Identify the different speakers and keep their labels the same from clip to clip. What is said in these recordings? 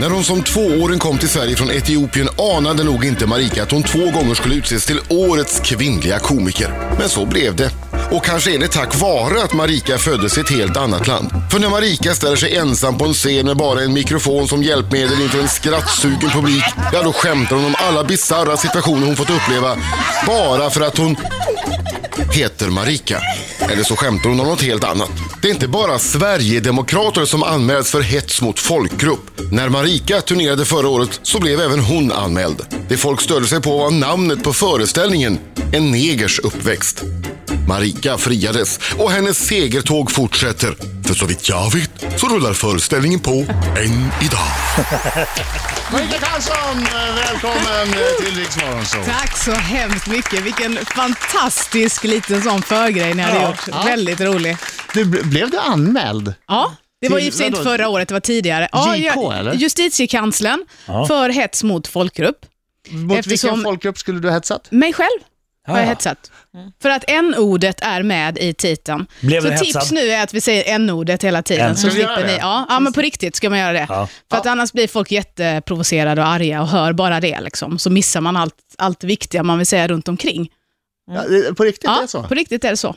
Speaker 1: När hon som tvååring kom till Sverige från Etiopien anade nog inte Marika att hon två gånger skulle utses till årets kvinnliga komiker. Men så blev det. Och kanske är det tack vare att Marika föddes i ett helt annat land. För när Marika ställer sig ensam på en scen med bara en mikrofon som hjälpmedel inför en skrattsugen publik, ja då skämtar hon om alla bisarra situationer hon fått uppleva bara för att hon heter Marika. Eller så skämtar hon om något helt annat. Det är inte bara Sverigedemokrater som anmäls för hets mot folkgrupp. När Marika turnerade förra året så blev även hon anmäld. Det folk störde sig på var namnet på föreställningen, En negers uppväxt. Marika friades och hennes segertåg fortsätter. För så vitt jag vet så rullar föreställningen på än idag.
Speaker 2: Marika Karlsson, eh, välkommen eh, till Riksmorgon Zoo.
Speaker 3: Tack så hemskt mycket. Vilken fantastisk liten sån förgrej ni hade
Speaker 2: Ja.
Speaker 3: gjort.
Speaker 2: Ja.
Speaker 3: Väldigt rolig.
Speaker 2: Du, bl- blev du anmäld?
Speaker 3: Ja, det var
Speaker 2: Till-
Speaker 3: ju för sig inte
Speaker 2: vadå?
Speaker 3: förra året, det var tidigare. Ja,
Speaker 2: JK,
Speaker 3: jag-
Speaker 2: eller?
Speaker 3: Justitiekanslern för hets mot folkgrupp.
Speaker 2: Mot vilken
Speaker 3: Eftersom-
Speaker 2: folkgrupp skulle du ha hetsat?
Speaker 3: Mig själv har jag hetsat. För att n-ordet är med i titeln.
Speaker 4: Blev
Speaker 3: så
Speaker 4: du
Speaker 3: tips
Speaker 4: hetsad?
Speaker 3: nu är att vi säger n-ordet hela
Speaker 4: Ja.
Speaker 3: tiden.
Speaker 2: Ska
Speaker 3: Så
Speaker 2: vi göra
Speaker 3: slipper ni.
Speaker 2: det?
Speaker 3: Ja, ja, men på riktigt ska man göra det.
Speaker 4: Ja.
Speaker 3: För att annars blir folk jätteprovocerade och arga och hör bara det. Liksom. Så missar man allt, allt viktiga man vill säga runt omkring.
Speaker 2: Ja, det- på riktigt,
Speaker 3: ja,
Speaker 2: det är så?
Speaker 3: på riktigt är det så.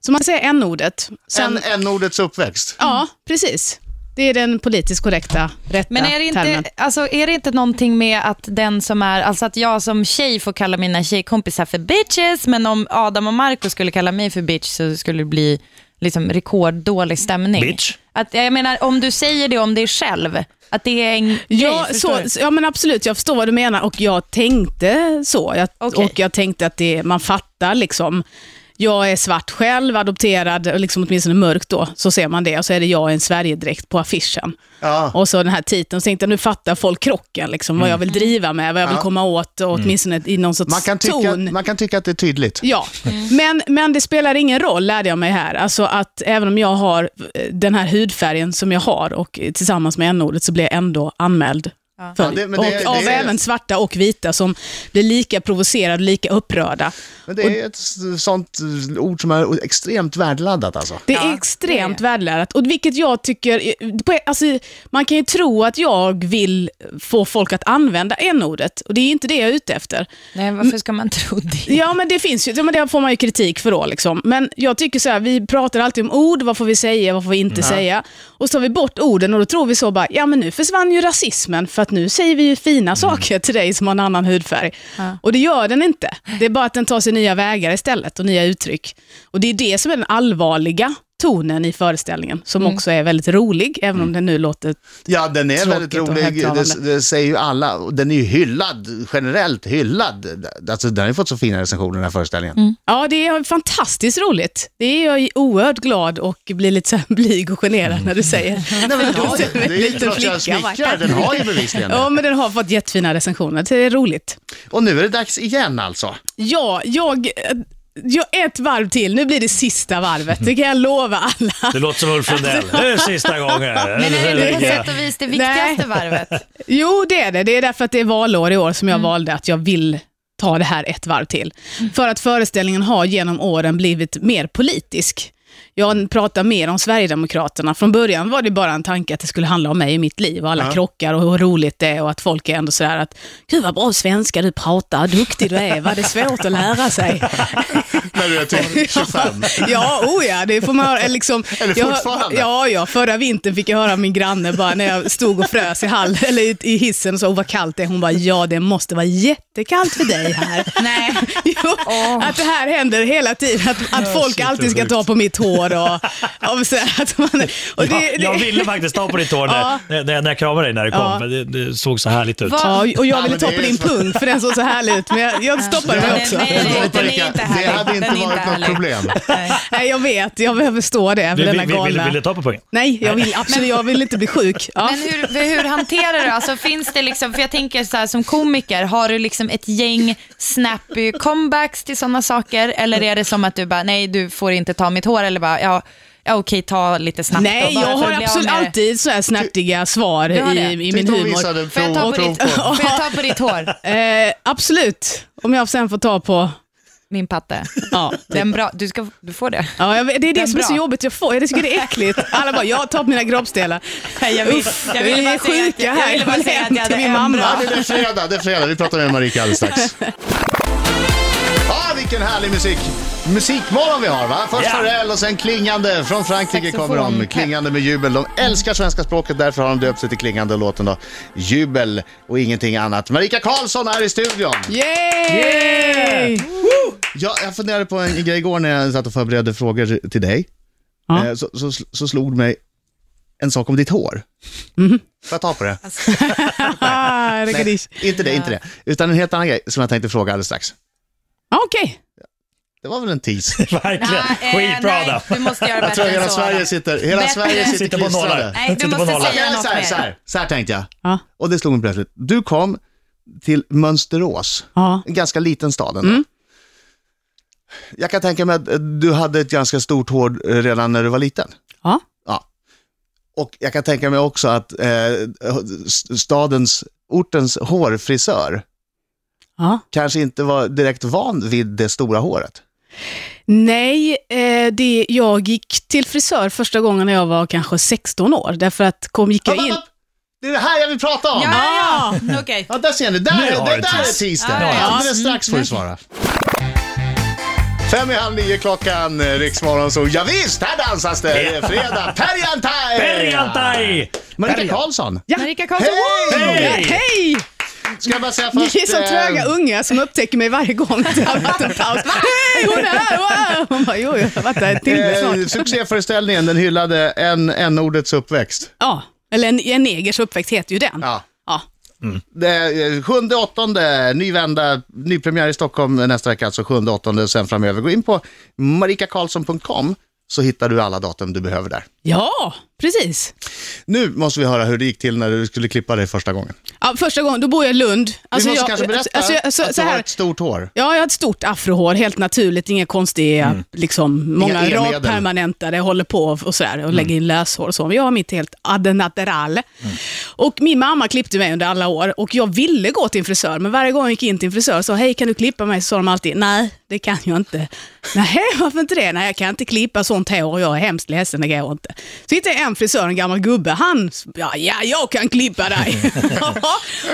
Speaker 3: Så man säger n-ordet. Sen,
Speaker 2: Sen... En, en ordets uppväxt?
Speaker 3: Ja, precis. Det är den politiskt korrekta, rätta
Speaker 5: Men är det,
Speaker 3: termen.
Speaker 5: inte, alltså, är det inte någonting med att den som är, alltså att jag som tjej får kalla mina tjejkompisar för bitches, men om Adam och Marco skulle kalla mig för bitch så skulle det bli liksom rekorddålig stämning.
Speaker 4: Bitch.
Speaker 5: Att, jag menar, om du säger det om dig själv, att det är en grej,
Speaker 3: Ja,
Speaker 5: förstår
Speaker 3: så,
Speaker 5: du?
Speaker 3: så- ja, men absolut. Jag förstår vad du menar och jag tänkte så. Jag,
Speaker 5: Okej.
Speaker 3: Och jag tänkte att det, man fattar liksom. Jag är svart själv, adopterad, och liksom åtminstone mörk då, så ser man det. Och så är det jag i en Sverigedräkt på affischen.
Speaker 2: Ja. Mm.
Speaker 3: Och så den här titeln. Så tänkte jag, nu fattar folk krocken, liksom, vad jag vill driva med, vad jag vill komma åt, och åtminstone i någon sorts
Speaker 2: Man, kan tycka,
Speaker 3: ton.
Speaker 2: man kan tycka att det är tydligt.
Speaker 3: Ja, men, men det spelar ingen roll lärde jag mig här. Alltså att även om jag har eh, den här hudfärgen som jag har och eh, tillsammans med n-ordet så blir jag ändå anmäld. För,
Speaker 2: Ja, det- men det-
Speaker 3: och
Speaker 2: det-
Speaker 3: av
Speaker 2: det-
Speaker 3: även svarta och vita som blir lika provocerade och lika upprörda.
Speaker 2: Men det är ett s- sånt eh, ord som är extremt värdeladdat alltså.
Speaker 3: Det
Speaker 5: Ja,
Speaker 3: är
Speaker 5: det
Speaker 3: extremt
Speaker 5: är
Speaker 3: värdelärat. Och vilket jag tycker... eh, på- Alltså, man kan ju tro att jag vill få folk att använda n-ordet. Och det är inte det jag är ute efter.
Speaker 5: Nej, varför ska man tro det?
Speaker 3: Ja, men det finns ju. ja, Men det får man ju kritik för då. Liksom. Men jag tycker så här, vi pratar alltid om ord, vad får vi säga, vad får vi inte säga? Och så tar vi bort orden och då tror vi så bara, ja men nu försvann ju rasismen för att nu säger vi ju fina saker till dig som har en annan hudfärg. Och det gör den inte. Det är bara att den tar sig nya vägar istället och nya uttryck. Och det är det som är den allvarliga tonen i föreställningen, som också är väldigt rolig, även om den nu låter...
Speaker 2: Ja, den är
Speaker 3: Tråkigt
Speaker 2: väldigt
Speaker 3: och
Speaker 2: rolig. Det,
Speaker 3: högtravande.
Speaker 2: det säger ju alla. Och Den är ju hyllad, generellt hyllad. Alltså, den har ju fått så fina recensioner, den här föreställningen.
Speaker 3: Ja, det är fantastiskt roligt. Det är jag ju oerhört glad och blir lite så här blyg och generad när du säger.
Speaker 2: Nej, men då,
Speaker 3: Det är en
Speaker 2: det är ju
Speaker 3: liten
Speaker 2: klart jag
Speaker 3: flicka, va?
Speaker 2: smickrar. Den har ju bevisligen
Speaker 3: Ja,
Speaker 2: det.
Speaker 3: men den har fått jättefina recensioner. Det är roligt.
Speaker 2: Och nu är det dags igen alltså.
Speaker 3: Ja, jag... Jag ett varv till. Nu blir det sista varvet. Det kan jag lova alla.
Speaker 4: Det låter som Ulf Lundell. Det är sista gången.
Speaker 5: Men är det på
Speaker 4: Ja.
Speaker 5: sätt och vis det viktigaste varvet?
Speaker 3: Jo, det är det. Det är därför att det är valår i år som jag valde att jag vill ta det här ett varv till. För att föreställningen har genom åren blivit mer politisk. Jag pratar mer om Sverigedemokraterna. Från början var det bara en tanke att det skulle handla om mig i mitt liv och alla krockar och hur roligt det är och att folk är ändå sådär att Gud vad bra svenska du pratar, vad duktig du är, vad det är svårt att lära sig.
Speaker 2: När du är typ 25.
Speaker 3: Ja, oh ja, det får man höra. eller Liksom,
Speaker 2: Eller
Speaker 3: jag,
Speaker 2: fortfarande.
Speaker 3: Ja, ja, förra vintern fick jag höra min granne bara när jag stod och frös i, hall, eller i, i hissen och sa, oh, vad kallt det är. Hon bara, ja det måste vara jättekallt för dig här.
Speaker 5: Nej.
Speaker 3: Jo, Att det här händer hela tiden, att, att folk alltid ska ta på mitt hår. Och, och så, här, att man, och det, det,
Speaker 4: Jag ville faktiskt ta på ditt hår när,
Speaker 3: Ja.
Speaker 4: när, när jag kramade dig när du kom,
Speaker 3: Ja.
Speaker 4: men det, det såg så härligt ut.
Speaker 5: Va?
Speaker 3: Ja, och
Speaker 2: Ja,
Speaker 3: jag ville
Speaker 2: men
Speaker 3: ta
Speaker 2: det
Speaker 3: på
Speaker 2: är
Speaker 3: din
Speaker 2: så-
Speaker 3: pung, för den såg så härlig ut, men jag, jag stoppade
Speaker 5: Den
Speaker 3: mig
Speaker 5: är-
Speaker 3: också.
Speaker 5: den är- den är inte
Speaker 2: det
Speaker 5: härlig.
Speaker 2: hade inte
Speaker 5: Den är inte
Speaker 2: varit något
Speaker 5: härlig.
Speaker 2: problem.
Speaker 5: Nej.
Speaker 3: Nej, jag vet, jag förstår det,
Speaker 4: Du
Speaker 3: för
Speaker 4: vill,
Speaker 3: denna
Speaker 4: vill, vill,
Speaker 3: galna...
Speaker 4: vill du ta på poängen?
Speaker 3: Nej, jag vill absolut jag vill inte bli sjuk. Ja.
Speaker 5: Men hur, hur hanterar du alltså, finns det liksom, för jag tänker så här som komiker, har du liksom ett gäng snappy comebacks till sådana saker? Eller är det som att du bara, nej du får inte ta mitt hår, eller bara, ja, ja okej ta lite snabbt
Speaker 3: Nej,
Speaker 5: då, bara
Speaker 3: jag
Speaker 5: för
Speaker 3: har
Speaker 5: att bli av
Speaker 3: absolut
Speaker 5: med det.
Speaker 3: alltid så här snärtiga svar
Speaker 5: Du har
Speaker 3: i,
Speaker 5: det?
Speaker 3: i min
Speaker 2: Tyckte hon visade
Speaker 3: humor.
Speaker 2: prov,
Speaker 5: Får jag, ta på
Speaker 2: prov
Speaker 5: ditt,
Speaker 2: på.
Speaker 5: får jag ta på ditt hår?
Speaker 3: Eh, absolut, om jag sen får ta på
Speaker 5: min patte.
Speaker 3: Ja, det,
Speaker 5: Den bra, du, ska, du får det.
Speaker 3: ja, jag vet- det är det
Speaker 5: Den
Speaker 3: som är så
Speaker 5: bra.
Speaker 3: jobbigt, jag, får, jag tycker det är äckligt. Alla bara, jag tar på mina kroppsdelar.
Speaker 5: Jag vill, jag
Speaker 3: vi
Speaker 5: ville
Speaker 3: är
Speaker 5: bara säga att
Speaker 3: sjuka
Speaker 5: jag,
Speaker 3: här,
Speaker 5: jag ville bara säga att jag
Speaker 3: till
Speaker 5: hade
Speaker 3: min
Speaker 5: en
Speaker 3: mamma.
Speaker 5: bra.
Speaker 2: Ja, det är fredag, det är fredag. Vi pratar med Marika alldeles strax. Ah, vilken härlig musik! Musikmorgon vi har va? Först
Speaker 4: Ja.
Speaker 2: Farrell och sen Klingande. Från Frankrike kommer de. Klingande med jubel. De älskar svenska språket, därför har de döpt sig till Klingande och låten då. Jubel och ingenting annat. Marika Karlsson är i studion.
Speaker 3: Yay!
Speaker 2: Ja, jag funderade på en grej igår när jag satt och förberedde frågor till dig.
Speaker 3: Ja.
Speaker 2: Eh, Så, så, så slog mig en sak om ditt hår. Får jag ta på det?
Speaker 3: Ah,
Speaker 2: Nej,
Speaker 3: Rekadish.
Speaker 2: inte det, inte det. Utan en helt annan grej som jag tänkte fråga alldeles strax.
Speaker 3: Ja, Okej.
Speaker 2: Det var väl en tease?
Speaker 4: Verkligen.
Speaker 5: Nej, eh,
Speaker 4: Skitbra
Speaker 5: nej,
Speaker 4: då.
Speaker 5: Du måste göra
Speaker 2: Jag tror
Speaker 5: bättre
Speaker 2: hela
Speaker 5: än så.
Speaker 2: Sverige sitter, hela
Speaker 5: Bättre.
Speaker 2: Sverige sitter,
Speaker 4: Sitter på
Speaker 2: klistrade.
Speaker 4: nålar.
Speaker 5: Nej, du
Speaker 4: Sitter på
Speaker 5: måste
Speaker 4: nålar.
Speaker 5: säga
Speaker 2: Nej,
Speaker 5: något
Speaker 2: så, här,
Speaker 5: mer.
Speaker 2: så, här, så här tänkte jag.
Speaker 3: Ja.
Speaker 2: Och det slog mig plötsligt. Du kom till Mönsterås,
Speaker 3: Ja.
Speaker 2: en ganska liten stad ändå. Jag kan tänka mig att eh, du hade ett ganska stort hår eh, redan när du var liten.
Speaker 3: Ja.
Speaker 2: Ja. Och jag kan tänka mig också att eh, s- stadens, ortens hårfrisör
Speaker 3: Ja.
Speaker 2: kanske inte var direkt van vid det stora håret.
Speaker 3: Nej, eh, det, jag gick till frisör första gången när jag var kanske 16 år. Därför att kom, gick jag
Speaker 2: Hopp,
Speaker 3: in...
Speaker 2: hopp, hopp! Det är det här jag vill prata om!
Speaker 5: Ja,
Speaker 3: Ah.
Speaker 5: ja, ja. okej.
Speaker 2: Ja, där ser ni. Där,
Speaker 4: Nu
Speaker 2: är-
Speaker 4: har
Speaker 2: där,
Speaker 4: du
Speaker 2: där är
Speaker 4: tease.
Speaker 2: tisdagen.
Speaker 4: Ja,
Speaker 2: Ja,
Speaker 4: ja.
Speaker 2: Alldeles
Speaker 3: Mm,
Speaker 2: strax får du svara. Fem i halv nio klockan, eh, Riksmorgon så ja, visst, här dansas det! Det är fredag, perjantaj!
Speaker 4: Perjantaj!
Speaker 2: Marika Karlsson!
Speaker 3: Ja.
Speaker 5: Marika Karlsson.
Speaker 2: Hej!
Speaker 3: Ja, Hej!
Speaker 2: Ska jag bara säga
Speaker 3: Ni
Speaker 2: först...
Speaker 3: är som
Speaker 2: eh,
Speaker 3: tröga unga som upptäcker mig varje gång att jag har varit en paus. Hej, hon är här! Wow! Hon bara, jo, jag har varit här en timme
Speaker 2: Eh,
Speaker 3: snart.
Speaker 2: succéföreställningen, den hyllade en, en ordets uppväxt.
Speaker 3: Ja, eller en, en negers uppväxt heter ju den.
Speaker 2: Ja.
Speaker 3: Ja.
Speaker 2: Det, eh, sjunde, åttonde, ny vända, ny premiär i Stockholm nästa vecka, alltså sjunde, åttonde, sen framöver. Gå in på marikakarlsson.com så hittar du alla datum du behöver där.
Speaker 3: ja, precis.
Speaker 2: Nu måste vi höra hur det gick till när du skulle klippa dig första gången.
Speaker 3: Ja, första gången, då bor jag i Lund. Alltså,
Speaker 2: vi måste
Speaker 3: jag-
Speaker 2: kanske berätta
Speaker 3: alltså, jag- så,
Speaker 2: att
Speaker 3: så
Speaker 2: du har
Speaker 3: här,
Speaker 2: ett stort hår.
Speaker 3: Ja, jag har ett stort afrohår, helt naturligt. Inga konstiga, liksom, många
Speaker 2: elmedel.
Speaker 3: rakpermanentade håller på och sådär och lägger in löshår och så. Men jag har mitt helt ad natural. Och min mamma klippte mig under alla år och jag ville gå till en frisör, men varje gång jag gick in till en frisör och sa hej, kan du klippa mig? Så sa de alltid, nej, det kan jag inte. Nej, varför inte det? Nej, jag kan inte klippa sånt hår och jag är hemskt ledsen, det går inte. Så hittade jag en frisör, en gammal gubbe, han, ja, ja jag kan klippa dig.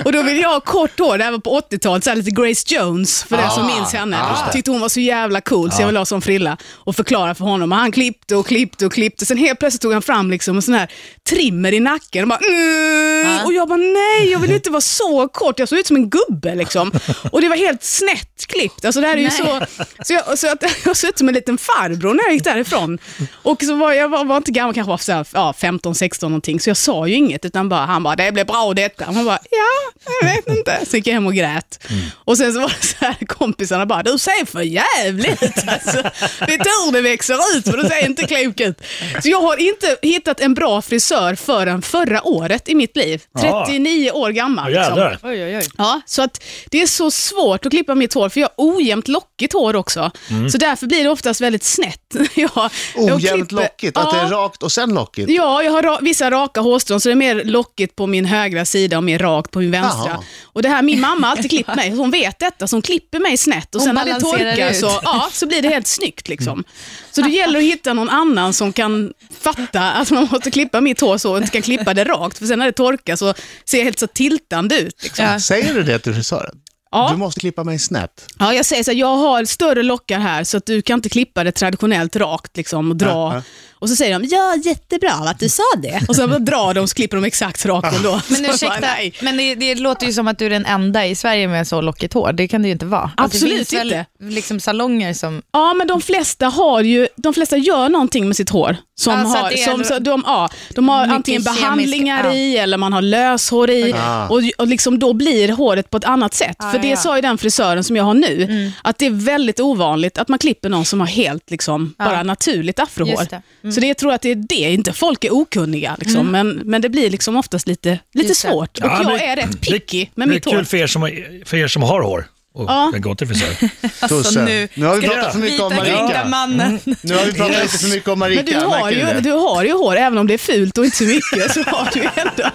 Speaker 3: och då ville jag ha kort hår, det här var på 80-talet, så här lite Grace Jones, för den som minns henne. Tyckte hon var så jävla cool så jag ville ha sån frilla och förklara för honom. Och han klippte och klippte och klippte. Sen helt plötsligt tog han fram liksom en sån här trimmer i nacken och bara mm. Och jag bara nej, jag vill inte vara så kort. Jag såg ut som en gubbe liksom. Och det var helt snett klippt. Alltså det här är ju så... Så jag, så att, jag såg ut som en liten farbror när jag gick därifrån. Och så var jag var, var inte gammal, kanske var så här, ja, 15, 16 någonting. Så jag sa ju inget utan bara, han bara, det blir bra detta. Och man bara, ja, jag vet inte. Så gick jag hem och grät. Och sen så var det så här, kompisarna bara, du ser för jävligt ut. Alltså, det är tur det växer ut, för du ser inte klok ut. Så jag har inte hittat en bra frisör förrän förra året i mitt liv.
Speaker 4: Ja.
Speaker 3: 39 år gammal.
Speaker 4: Åh, Jävlar.
Speaker 5: Liksom. Oj, oj, oj.
Speaker 3: Ja, så att det är så svårt att klippa mitt hår, för jag har ojämnt lockigt hår också. Så därför blir det oftast väldigt snett. jag, jag
Speaker 2: Ojämnt
Speaker 3: klipper-
Speaker 2: lockigt, att det är rakt och sen lockigt.
Speaker 3: Ja, jag har ra- vissa raka hårstrån, så det är mer lockigt på min högra sida och mer rakt på min vänstra.
Speaker 2: Jaha.
Speaker 3: Och det här, min mamma har alltid klippt mig, hon vet detta, så hon klipper mig snett och
Speaker 5: Hon
Speaker 3: sen när det
Speaker 5: balanserar
Speaker 3: torkar
Speaker 5: ut.
Speaker 3: så, ja, så blir det helt snyggt. Liksom. Så det gäller att hitta någon annan som kan fatta att man måste klippa mitt hår så och inte kan klippa det rakt, för sen när det torkar så ser jag helt så tiltande ut. Liksom.
Speaker 5: Ja.
Speaker 2: Säger du det till frisören?
Speaker 3: Ja.
Speaker 2: Du måste klippa mig snett.
Speaker 3: Ja, jag säger så här, jag har större lockar här så att du kan inte klippa det traditionellt rakt liksom, och dra.
Speaker 2: Ja, ja.
Speaker 3: Och så säger de, ja jättebra att du sa det. Och sen bara drar de så klipper de exakt rakt ändå. Så
Speaker 5: Men
Speaker 3: jag
Speaker 5: ursäkta,
Speaker 3: bara, nej.
Speaker 5: men det, det låter ju som att du är den enda i Sverige med så lockigt hår. Det kan det ju inte vara. Alltså,
Speaker 3: Absolut
Speaker 5: det finns
Speaker 3: inte.
Speaker 5: Väl liksom salonger som...
Speaker 3: Ja, men de flesta har ju, de flesta gör någonting med sitt hår. Som
Speaker 5: Ja, så att
Speaker 3: har,
Speaker 5: det är
Speaker 3: som, så de, ja, de har
Speaker 5: mycket
Speaker 3: antingen
Speaker 5: kemisk-
Speaker 3: behandlingar
Speaker 5: ja.
Speaker 3: i eller man har löshår i.
Speaker 2: Ah.
Speaker 3: Och, och liksom då blir håret på ett annat sätt.
Speaker 5: Ja,
Speaker 3: För det
Speaker 5: Ah, ja, Mm. ja.
Speaker 3: sa ju den frisören som jag har nu, att det är väldigt ovanligt att man klipper någon som har helt liksom, bara naturligt afrohår.
Speaker 5: Just det. Mm.
Speaker 3: Så det, jag tror att det är det, inte folk är okunniga, liksom, men, men det blir liksom oftast lite, lite
Speaker 5: Just det.
Speaker 3: svårt. Och
Speaker 4: Ja,
Speaker 3: jag
Speaker 4: men-
Speaker 3: är rätt picky
Speaker 4: det,
Speaker 3: med mitt
Speaker 4: Det är
Speaker 3: hår.
Speaker 4: kul för er som, för er som har hår och
Speaker 3: Ja.
Speaker 4: kan gå till frisör.
Speaker 2: Tussen.
Speaker 5: nu
Speaker 2: nu har vi
Speaker 5: ska
Speaker 2: pratat
Speaker 4: du
Speaker 2: för mycket om
Speaker 5: Vita
Speaker 2: Marika. Mm.
Speaker 5: grinda mannen.
Speaker 2: Nu har vi pratat lite för mycket om Marika.
Speaker 3: Men du har,
Speaker 2: märker
Speaker 3: ju,
Speaker 2: det?
Speaker 3: du har ju hår, även om det är fult och inte så mycket, så har du ju ändå.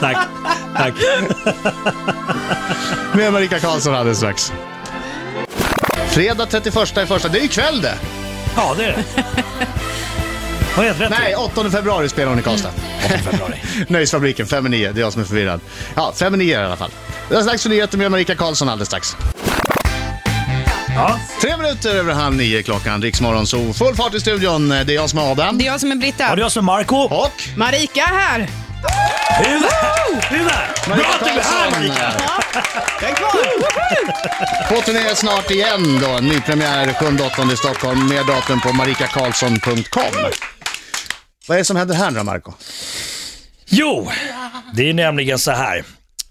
Speaker 4: Tack. Tack.
Speaker 2: med Marika Karlsson alldeles strax. Fredag 31 i första, det är ju kväll det!
Speaker 4: Ja, det är det. Har jag helt rätt?
Speaker 2: Nej, 8 februari spelar hon i Karlstad.
Speaker 4: Mm. februari.
Speaker 2: Nöjesfabriken, 5 9. Det är jag som är förvirrad. Ja, 5 9 i alla fall. Det är dags för nyheter med Marika Karlsson alldeles strax.
Speaker 4: Ja.
Speaker 2: Tre minuter över halv nio klockan, Riksmorgon, så full fart i studion. Det är jag som är Adam.
Speaker 5: Det är jag som är Britta.
Speaker 4: Har du jag som är Marco?
Speaker 2: Och
Speaker 3: Marika är här!
Speaker 4: Du är där! Du är där! Bra att du är här
Speaker 2: eh.
Speaker 4: Marika!
Speaker 3: Jag är kvar!
Speaker 2: På turné snart igen då. Nypremiär 7-8 i Stockholm. Mer datum på marikakarlsson.com. Vad är det som händer här nu då, Marco?
Speaker 4: Jo, det är nämligen så här.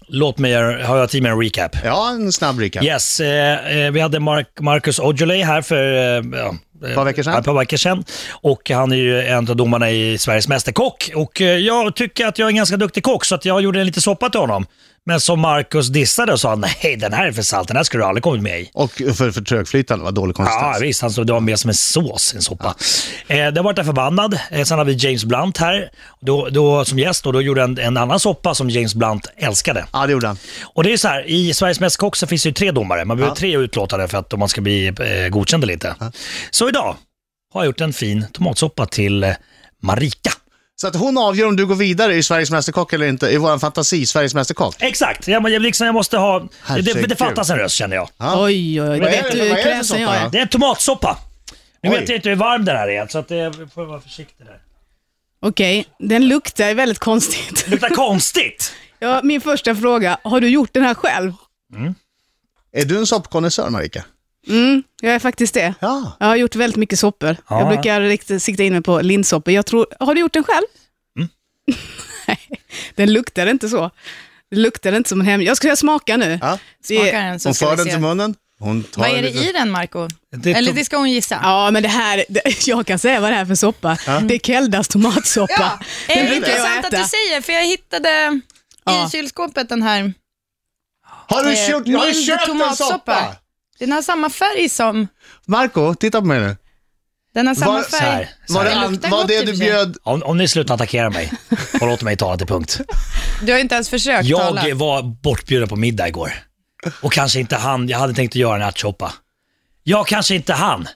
Speaker 4: Låt mig göra, har jag tid med en recap?
Speaker 2: Ja, en snabb recap.
Speaker 4: Yes, eh, eh, vi hade Mark, Marcus Aujalay här för eh, ja, eh,
Speaker 2: par veckor sedan.
Speaker 4: ja, ett par veckor sedan. Och han är ju en av domarna i Sveriges Mästerkock. Och eh, jag tycker att jag är en ganska duktig kock, så att jag gjorde en liten soppa till honom. Men som Marcus dissade och sa han, nej den här är för salt, den här skulle du aldrig kommit med i.
Speaker 2: Och för, för trögflytande, vad dålig
Speaker 4: Ja,
Speaker 2: konsistens.
Speaker 4: visst. Han stod, det var mer som en sås i en soppa. Eh, det har varit en förbannad. Eh, sen har vi James Blunt här då, då, som gäst och då gjorde en, en annan soppa som James Blunt älskade.
Speaker 2: Ja, det gjorde han.
Speaker 4: Och det är så här, i Sveriges Mästerkock så finns det ju tre domare. Man behöver tre utlåtare för att om man ska bli eh, godkänd eller inte. Så idag har jag gjort en fin tomatsoppa till eh, Marika.
Speaker 2: Så att hon avgör om du går vidare i Sveriges Mästerkock eller inte, i vår fantasi, Sveriges Mästerkock.
Speaker 4: Exakt, jag, jag, liksom, jag måste ha... Det, det
Speaker 2: Herregud.
Speaker 4: fattas en röst känner jag.
Speaker 2: Ja.
Speaker 3: Oj, oj, oj.
Speaker 2: Vad är
Speaker 3: Vet
Speaker 2: det- vad
Speaker 3: du
Speaker 2: är
Speaker 3: hur
Speaker 2: det för
Speaker 3: kräsen jag
Speaker 2: soppa?
Speaker 3: är?
Speaker 4: Det är en tomatsoppa. Nu
Speaker 2: Oj.
Speaker 4: vet jag inte hur varm den här är, så att, eh, vi får vara försiktig där.
Speaker 3: Okej, den luktar väldigt konstigt.
Speaker 4: Det luktar konstigt.
Speaker 3: Ja, min första fråga, har du gjort den här själv?
Speaker 2: Är du en soppkonnässör, Marika?
Speaker 3: Mm, jag är faktiskt det.
Speaker 2: Ja.
Speaker 3: Jag har gjort väldigt mycket soppor.
Speaker 4: Ja.
Speaker 3: Jag brukar riktigt sikta in mig på linssoppor. Jag tror, har du gjort den själv? Nej, den luktar inte så. Den luktar inte som en hem... Jag ska smaka nu.
Speaker 2: Ja.
Speaker 3: Se-
Speaker 5: Smakar den så
Speaker 2: Hon
Speaker 5: ska
Speaker 2: för
Speaker 5: vi
Speaker 2: den
Speaker 5: se.
Speaker 2: till munnen. Hon tar
Speaker 5: Vad är det
Speaker 2: lite-
Speaker 5: i den Marco?
Speaker 4: Det är
Speaker 5: Eller
Speaker 4: tom-
Speaker 5: det ska hon gissa.
Speaker 3: Ja, men det här, det, jag kan säga vad det här är för soppa. Det är Keldas tomatsoppa.
Speaker 5: Är
Speaker 3: Den
Speaker 5: det
Speaker 3: brukar jag
Speaker 5: intressant att
Speaker 3: äta.
Speaker 5: du säger, för jag hittade
Speaker 3: Ja.
Speaker 5: i kylskåpet den här.
Speaker 2: Har du
Speaker 5: eh,
Speaker 2: köpt, har du
Speaker 5: mild
Speaker 2: köpt en
Speaker 5: tomatsoppa.
Speaker 2: soppa?
Speaker 5: Den har samma färg som...
Speaker 2: Marco, titta på mig nu.
Speaker 5: Den har samma
Speaker 2: Var-
Speaker 5: färg.
Speaker 4: Så här, så
Speaker 2: Var det,
Speaker 4: här.
Speaker 5: Det
Speaker 2: an,
Speaker 5: luktar
Speaker 2: var
Speaker 5: gott
Speaker 2: det
Speaker 5: i och
Speaker 2: du
Speaker 5: för sig.
Speaker 2: bjöd?
Speaker 4: Om, om ni slutar attackera mig och låter mig tala till punkt.
Speaker 5: Du har ju inte ens försökt tala.
Speaker 4: Jag var bortbjuden på middag igår. Och kanske inte han. Jag hade tänkt att göra en ärtsoppa. Jag kanske inte han.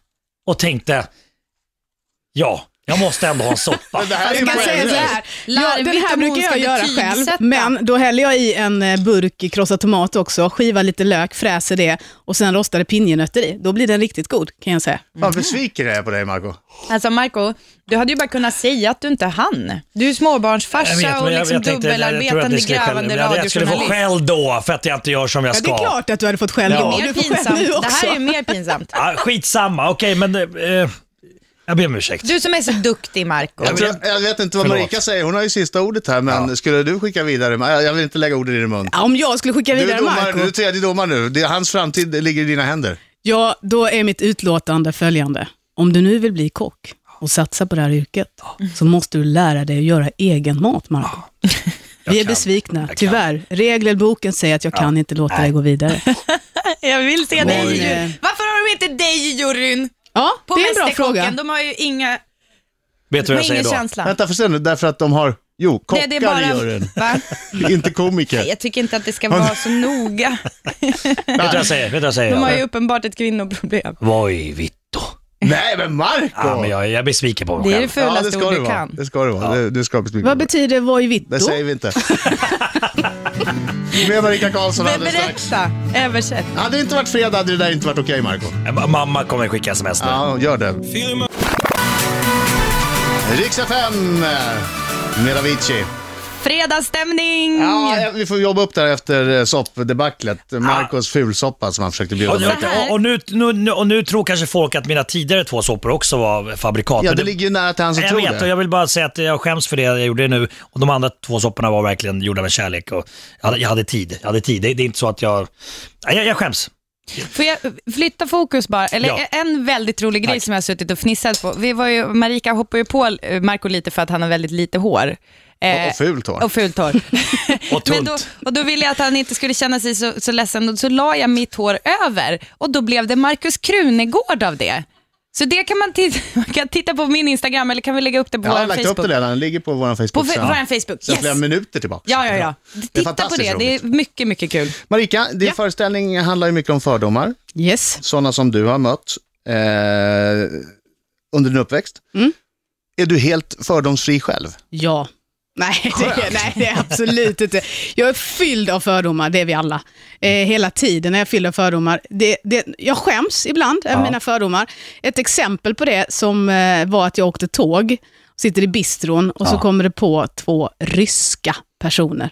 Speaker 4: Och tänkte, ja, jag måste ändå ha en soppa.
Speaker 2: Det här är ju
Speaker 3: Jag kan säga så
Speaker 2: poänglöst.
Speaker 3: här. Ja, den
Speaker 5: Larvigt
Speaker 3: här
Speaker 5: om
Speaker 3: brukar
Speaker 5: hon
Speaker 3: jag
Speaker 5: ska
Speaker 3: göra själv,
Speaker 5: betygsätta.
Speaker 3: men då häller jag i en eh, burk krossad tomat också, skivar lite lök, fräser det och sen rostade pinjenötter i. Då blir den riktigt god kan jag säga.
Speaker 2: Fan besviken jag är på dig Marco.
Speaker 5: Alltså Marco, du hade ju bara kunnat säga att du inte hann. Du är ju småbarnsfarsa och liksom dubbelarbetande, grävande
Speaker 4: jag, jag skulle få
Speaker 5: liksom radiojournalist.
Speaker 4: skäll då för att jag inte gör som jag
Speaker 3: Ja,
Speaker 4: ska.
Speaker 3: det är klart att du hade fått skäll
Speaker 4: Ja.
Speaker 3: då.
Speaker 5: Mer
Speaker 3: Du får skäll nu
Speaker 5: pinsamt. Det
Speaker 3: också.
Speaker 5: här är ju mer pinsamt.
Speaker 4: Ja, skitsamma, okej men eh, jag ber om ursäkt.
Speaker 5: Du som är så duktig Marco.
Speaker 2: Jag, tror, jag vet inte vad
Speaker 4: Förlåt.
Speaker 2: Marika säger, hon har ju sista ordet här men skulle du skicka vidare? Jag- Jag vill inte lägga orden i din mun.
Speaker 3: Ja, Om jag skulle skicka
Speaker 2: Du
Speaker 3: vidare
Speaker 2: är, domare,
Speaker 3: Marco,
Speaker 2: nu, du är tredje domare nu, det är, hans framtid ligger i dina händer.
Speaker 3: ja, då är mitt utlåtande följande. Om du nu vill bli kock och satsa på det här yrket, så måste du lära dig att göra egen mat, Marco. Vi är
Speaker 4: kan.
Speaker 3: besvikna,
Speaker 4: kan.
Speaker 3: tyvärr. Regelboken säger att jag kan inte låta dig gå vidare.
Speaker 5: Jag vill se dig i
Speaker 3: Oj.
Speaker 5: juryn. Varför har de inte dig i juryn?
Speaker 3: Ja,
Speaker 5: På
Speaker 3: det är en bra
Speaker 5: Mästerkocken,
Speaker 3: fråga.
Speaker 5: De har ju inga,
Speaker 4: Vet du vad
Speaker 5: de har
Speaker 4: jag säger
Speaker 5: ingen
Speaker 4: då?
Speaker 5: känsla.
Speaker 2: Vänta, för sen nu, därför att de har, jo, kockar
Speaker 5: det är
Speaker 2: gör den.
Speaker 5: Va?
Speaker 2: Inte komiker.
Speaker 5: Nej, Jag tycker inte att det ska vara så noga.
Speaker 4: Vet du vad jag säger? Vet du vad jag säger?
Speaker 5: De har ju uppenbart ett kvinnoproblem.
Speaker 4: Voi vitto.
Speaker 2: Nej men Marco!
Speaker 4: Ja, men jag, jag är besviken på mig
Speaker 5: Det
Speaker 4: själv.
Speaker 5: är det
Speaker 2: Ja, det
Speaker 5: fulaste
Speaker 2: ska
Speaker 5: ord
Speaker 2: det
Speaker 5: du
Speaker 2: vara.
Speaker 5: kan.
Speaker 2: Det ska det vara. Det, det ska bli
Speaker 3: Vad betyder voi vitto?
Speaker 2: Det säger vi inte. Med Marika Karlsson
Speaker 5: Men
Speaker 2: alldeles strax.
Speaker 5: berätta, översätt.
Speaker 2: Hade det inte varit fredag hade det där inte varit okej Marco.
Speaker 4: Eh, Mamma kommer skicka sms nu.
Speaker 2: Ja, gör det. Rix FM eh, med Avicii.
Speaker 5: Fredagsstämning!
Speaker 2: Ja, vi får jobba upp där efter eh, soppdebaclet. Marcos fulsoppa som han försökte bjuda
Speaker 4: Och nu,
Speaker 2: mig på.
Speaker 5: här.
Speaker 4: och, och, nu, nu, nu, och nu tror kanske folk att mina tidigare två soppor också var fabrikat.
Speaker 2: Ja,
Speaker 4: Men
Speaker 2: det ligger ju nära till han som
Speaker 4: jag
Speaker 2: tror
Speaker 4: vet och
Speaker 2: det.
Speaker 4: jag vill bara säga att jag skäms för det jag gjorde nu. Och de andra två sopporna var verkligen gjorda med kärlek och jag hade, jag hade tid. Jag hade tid. Det, det är inte så att jag... Nej, Jag, jag skäms.
Speaker 5: Får jag flytta fokus bara? Eller
Speaker 4: Ja.
Speaker 5: en väldigt rolig grej
Speaker 4: Tack.
Speaker 5: som jag har suttit och fnissat på. Vi var ju, Marika hoppar ju på eh, Marco lite för att han har väldigt lite hår. Eh,
Speaker 2: Och- Och fult hår.
Speaker 5: Och fult hår.
Speaker 4: Och
Speaker 5: Men då,
Speaker 4: tunt.
Speaker 5: och då ville jag att han inte skulle känna sig så, så ledsen och så la jag mitt hår över och då blev det Markus Krunegård av det. Så det kan man, titta, man kan titta på min Instagram eller kan vi lägga upp det på
Speaker 2: Jag har
Speaker 5: vår
Speaker 2: lagt
Speaker 5: Facebook?
Speaker 2: upp det redan, den ligger på vår Facebook.
Speaker 5: På fe-
Speaker 2: sen.
Speaker 5: vår Facebook,
Speaker 2: Sen flera
Speaker 5: yes.
Speaker 2: minuter tillbaka.
Speaker 5: Ja, ja, ja. Titta på
Speaker 2: fantastiskt
Speaker 5: det, det är mycket, mycket kul.
Speaker 2: Marika, din
Speaker 3: Ja.
Speaker 2: föreställning handlar ju mycket om fördomar,
Speaker 3: Yes.
Speaker 2: sådana som du har mött eh, under din uppväxt. Är du helt fördomsfri själv?
Speaker 3: Ja. Nej det, nej, det är absolut inte. Jag är fylld av fördomar, det är vi alla. Eh, hela tiden är jag fylld av fördomar. Det, det, jag skäms ibland över mina fördomar. Ett exempel på det som eh, var att jag åkte tåg, sitter i bistron och så kommer det på två ryska personer.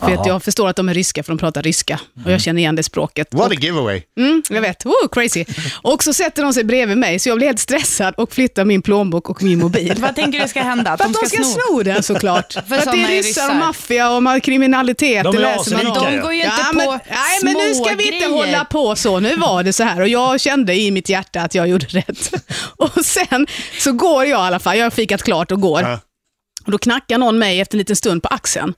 Speaker 3: För att jag förstår att de är ryska för de pratar ryska
Speaker 2: Mm.
Speaker 3: och jag känner igen det språket.
Speaker 2: What a giveaway!
Speaker 3: Mm, jag vet, Woo, crazy. Och så sätter de sig bredvid mig så jag blir helt stressad och flyttar min plånbok och min mobil.
Speaker 5: Vad tänker du ska hända? Att
Speaker 3: För att de ska sno den såklart. För att det
Speaker 5: såna
Speaker 3: är
Speaker 5: är
Speaker 3: ryssar och
Speaker 5: ryssar.
Speaker 3: maffia och man- kriminalitet.
Speaker 4: De är
Speaker 3: det läser man
Speaker 4: asrika
Speaker 3: om.
Speaker 4: ju.
Speaker 5: De går ju inte
Speaker 3: Ja,
Speaker 5: på
Speaker 3: men, nej, men nu ska vi inte
Speaker 5: smågrejer.
Speaker 3: hålla på så. Nu var det så här och jag kände i mitt hjärta att jag gjorde rätt. Och sen så går jag i alla fall, jag har fikat klart och går.
Speaker 2: Ja.
Speaker 3: Och då knackar någon mig efter en liten stund på axeln.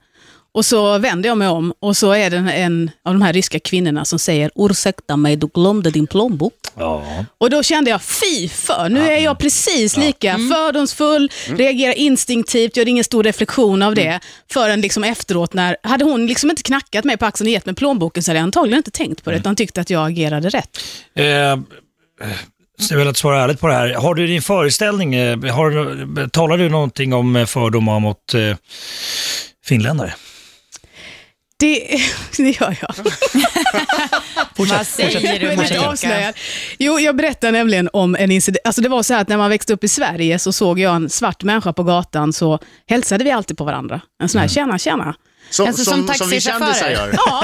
Speaker 3: Och så vänder jag mig om och så är det en av de här ryska kvinnorna som säger ursäkta mig, du glömde din plånbok.
Speaker 4: Ja.
Speaker 3: Och då kände jag, fy för, nu är jag precis lika
Speaker 4: Mm.
Speaker 3: fördomsfull, reagerar instinktivt, gör ingen stor reflektion av
Speaker 4: Mm.
Speaker 3: det. Förrän liksom efteråt, när, hade hon liksom inte knackat mig på axeln och gett mig plånboken så hade jag antagligen inte tänkt
Speaker 4: Mm.
Speaker 3: på det, utan tyckte att jag agerade rätt.
Speaker 4: Eh, jag vill att svara ärligt på det här. Har du din föreställning, eh, har, talar du någonting om eh, fördomar mot eh, finländare?
Speaker 3: Det, det gör jag.
Speaker 5: Vad säger
Speaker 3: Jag
Speaker 5: du
Speaker 3: är lite
Speaker 5: Marika?
Speaker 3: avslöjad. Jo, jag berättar nämligen om en incident. Alltså det var så här att när man växte upp i Sverige så såg jag en svart människa på gatan så hälsade vi alltid på varandra. En sån här,
Speaker 4: Mm.
Speaker 3: tjena, tjena.
Speaker 2: Som,
Speaker 5: Alltså, som
Speaker 2: vi
Speaker 5: taxichaufförer.
Speaker 2: kändisar gör.
Speaker 3: Ja,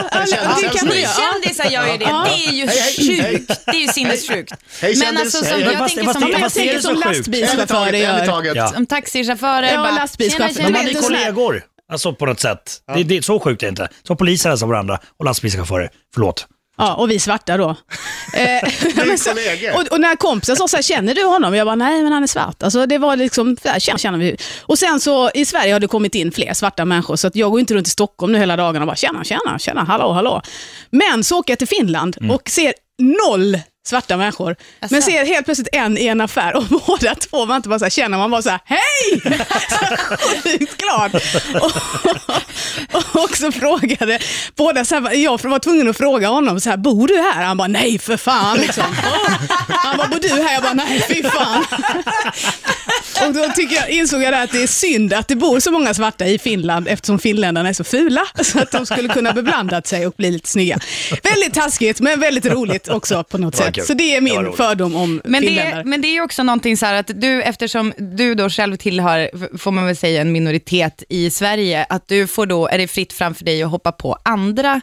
Speaker 3: det kan du göra.
Speaker 5: Kändisar gör ju det,
Speaker 3: Ja.
Speaker 5: det är ju
Speaker 2: hej, hej.
Speaker 5: sjukt. Det är ju sinnessjukt.
Speaker 2: Hej,
Speaker 5: Men
Speaker 2: kändis.
Speaker 5: alltså
Speaker 2: Hej,
Speaker 5: som
Speaker 2: hej.
Speaker 5: jag
Speaker 4: Fast-
Speaker 5: tänker
Speaker 4: fast-
Speaker 5: som,
Speaker 3: Ja, men
Speaker 5: jag
Speaker 3: jag
Speaker 4: fast-
Speaker 5: tänker
Speaker 3: tänker
Speaker 4: det
Speaker 3: som
Speaker 4: så sjukt?
Speaker 2: En i
Speaker 3: lastbilschaufförer
Speaker 2: taget, en i
Speaker 3: gör.
Speaker 2: taget.
Speaker 4: Ja.
Speaker 5: som taxichaufförer
Speaker 3: Ja,
Speaker 5: bara,
Speaker 3: lastbilschaufför.
Speaker 4: De
Speaker 5: tjena, tjena.
Speaker 4: hade
Speaker 3: inte så här-
Speaker 4: kollegor, alltså på något sätt. Det, det, så sjukt är det inte. Så poliser hälsar på varandra och lastbilschaufförer. Förlåt.
Speaker 3: Ja, och vi svarta då. Eh, men så-
Speaker 2: kollegor.
Speaker 3: och, och när kompisen sa så här, känner du honom? Jag bara, nej men han är svart. Alltså det var liksom, så här, känner, känner vi. Och sen så i Sverige har det kommit in fler svarta människor, så att jag går inte runt i Stockholm nu hela dagen och bara, tjena, tjena, tjena, hallå, hallå. Men så åker jag till Finland och ser noll svarta människor, men ser helt plötsligt en i en affär och båda två var inte bara så här, känner man bara så här, hej! Sjukt glad. Och, och så frågade båda, så här, jag var tvungen att fråga honom, så här, bor du här? Han bara, nej för fan. Liksom. Han bara, bor du här? Jag bara, nej fy fan. Och då tycker jag, insåg jag där att det är synd att det bor så många svarta i Finland eftersom finländarna är så fula. Så att de skulle kunna beblandat sig och bli lite snygga. Väldigt taskigt men väldigt roligt också på något
Speaker 4: Det var kul.
Speaker 3: sätt. Så det är
Speaker 4: Det var
Speaker 3: min
Speaker 4: roligt.
Speaker 3: fördom om
Speaker 5: Men det,
Speaker 3: finländare.
Speaker 5: men det är ju också någonting så här att du, eftersom du då själv tillhör, f- får man väl säga, en minoritet i Sverige, att du får då, är det fritt fram för dig att hoppa på andra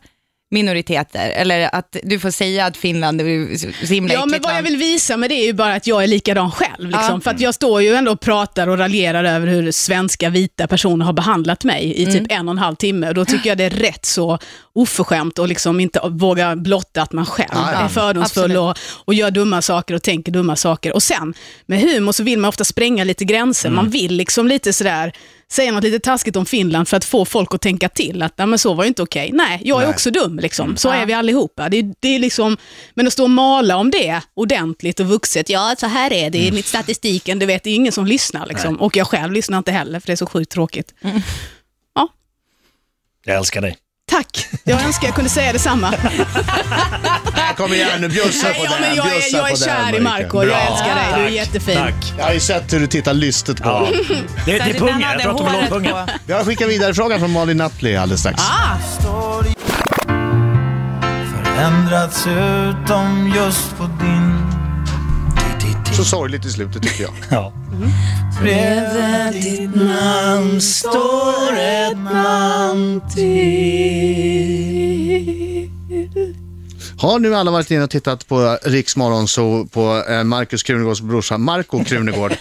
Speaker 5: minoriteter, eller att du får säga att Finland är så så himla
Speaker 3: Ja, men
Speaker 5: äckligt
Speaker 3: vad jag
Speaker 5: land.
Speaker 3: vill visa med det är ju bara att jag är likadan själv. Liksom.
Speaker 5: Ja.
Speaker 3: För att jag står ju ändå och pratar och raljerar över hur svenska vita personer har behandlat mig i typ en och en halv timme. Och då tycker jag det är rätt så oförskämt och liksom inte våga blotta att man själv
Speaker 2: Ja, ja.
Speaker 3: är fördomsfull
Speaker 5: Absolut.
Speaker 3: och, och gör dumma saker och tänker dumma saker. Och sen, med humor så vill man ofta spränga lite gränser. Man vill liksom lite sådär, säga något lite taskigt om Finland för att få folk att tänka till. Att nej, men så var ju inte okej. Nej, jag är också dum. Liksom. Så är vi allihopa. Det, är- det är liksom, men att stå och mala om det ordentligt och vuxet. Ja, så här är det enligt statistiken. Du vet, det är ingen som lyssnar. Liksom. Och jag själv lyssnar inte heller, för det är så sjukt tråkigt. Ja,
Speaker 4: Jag älskar dig.
Speaker 3: tack. Jag önskar jag kunde säga detsamma.
Speaker 2: Här kommer jag nu, bjussa på
Speaker 3: Nej, ja,
Speaker 2: den.
Speaker 3: men jag, är,
Speaker 2: bjussa
Speaker 3: jag
Speaker 2: på
Speaker 3: är
Speaker 2: den,
Speaker 3: kär i
Speaker 2: Marika.
Speaker 3: Marco Jag
Speaker 4: Bra.
Speaker 3: älskar dig. Du är
Speaker 4: Tack.
Speaker 3: jättefin.
Speaker 4: Tack.
Speaker 2: Jag har ju sett hur du tittar lystet på
Speaker 4: Ja.
Speaker 2: mig.
Speaker 4: Det, det är
Speaker 5: Så den
Speaker 4: pungen, jag
Speaker 5: hade
Speaker 4: tror att de vill
Speaker 5: håret
Speaker 4: åt pungen.
Speaker 5: på.
Speaker 2: Jag skickar vidare frågan från Malin Nattli alldeles strax.
Speaker 6: Förändrats utom just på din
Speaker 2: Så sorgligt i slutet tycker jag.
Speaker 4: Ja.
Speaker 6: Bredvid ditt namn står ett namn
Speaker 2: Har nu alla varit inne och tittat på Riksmorgon så på eh, Markus Krunegårds brorsa Marco Krunegård?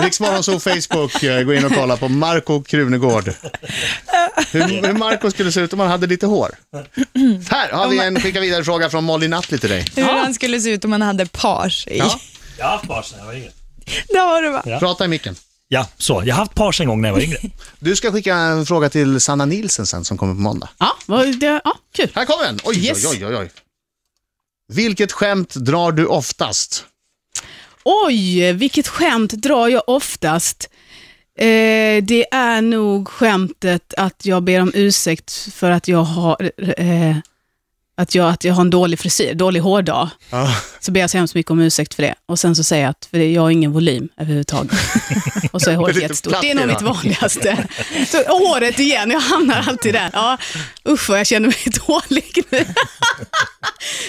Speaker 2: Riksmorgon så Facebook, eh, gå in och kolla på Marco Krunegård. Hur, hur Marco skulle se ut om han hade lite hår. Här har vi en skicka vidare fråga från Molly Nattli till dig.
Speaker 5: Hur han skulle se ut om han hade pars i.
Speaker 2: Ja.
Speaker 4: Jag har haft pars när jag var yngre.
Speaker 5: Det har du va?
Speaker 2: Prata i micken.
Speaker 4: Ja, så. Jag har haft pars en gång när jag var yngre.
Speaker 2: Du ska skicka en fråga till Sanna Nilsen sen som kommer på måndag.
Speaker 3: Ja, vad- det, ja, kul.
Speaker 2: Här kommer den! Oj,
Speaker 3: Yes.
Speaker 2: oj, oj, oj, oj. Vilket skämt drar du oftast?
Speaker 3: Oj, vilket skämt drar jag oftast? Eh, det är nog skämtet att jag ber om ursäkt för att jag har, eh, att jag, att jag har en dålig frisyr, dålig hårdag.
Speaker 2: Ja.
Speaker 3: Så ber jag så hemskt mycket om ursäkt för det. Och sen så säger jag att för det, jag har ingen volym överhuvudtaget. Och så är
Speaker 2: Det är
Speaker 3: håret
Speaker 2: lite
Speaker 3: jättestort.
Speaker 2: platt
Speaker 3: Det är nog
Speaker 2: idag.
Speaker 3: mitt vanligaste. Så, och håret igen, jag hamnar alltid där. Ja, usch vad jag känner mig dålig nu.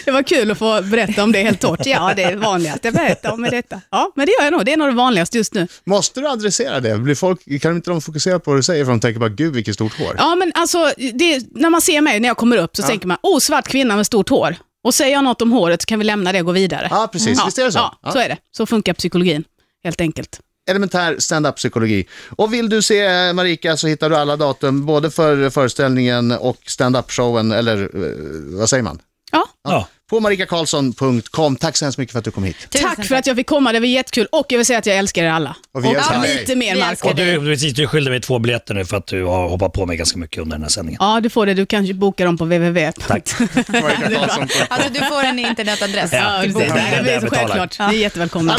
Speaker 3: Det var kul att få berätta om det helt torrt. Ja, det är vanligast jag berättar om med detta. Ja, men det gör jag nog. Det är nog det vanligaste just nu.
Speaker 2: Måste du adressera det? Blir folk, kan inte de fokusera på vad du säger för de tänker bara gud vilket stort hår?
Speaker 3: Ja, men alltså, det, när man ser mig när jag kommer upp så tänker man, oh, svart kvinna med stort hår. Och säger jag något om håret så kan vi lämna det och gå vidare.
Speaker 2: Ja, precis. Visst är det så?
Speaker 3: Ja,
Speaker 2: Ja.
Speaker 3: så är det. Så funkar psykologin, helt enkelt.
Speaker 2: Elementär stand-up-psykologi. Och vill du se eh, Marika så hittar du alla datum både för föreställningen och stand-up-showen, eller eh, vad säger man?
Speaker 3: Ja.
Speaker 4: Ja.
Speaker 2: På marikakarlsson.com. Tack så hemskt mycket för att du kom hit.
Speaker 5: Tusen
Speaker 3: Tack för att jag fick komma, det var jättekul. Och jag vill säga att jag älskar er alla.
Speaker 2: Och vi älskar
Speaker 3: ja,
Speaker 2: dig.
Speaker 3: lite mer
Speaker 5: Vi
Speaker 3: Marko.
Speaker 5: älskar
Speaker 4: Och du, precis, du skyllde mig två biljetter nu för att du har hoppat på mig ganska mycket under den här sändningen.
Speaker 3: Ja, du får det. Du kan ju boka dem på www.
Speaker 4: Tack.
Speaker 2: Marika Karlsson.
Speaker 5: Alltså du får en internetadress.
Speaker 3: Ja,
Speaker 4: det-
Speaker 3: precis.
Speaker 4: det-
Speaker 3: Nej,
Speaker 4: det-
Speaker 3: det
Speaker 4: det
Speaker 3: är så
Speaker 4: betalar.
Speaker 3: självklart. Ni är jättevälkomna.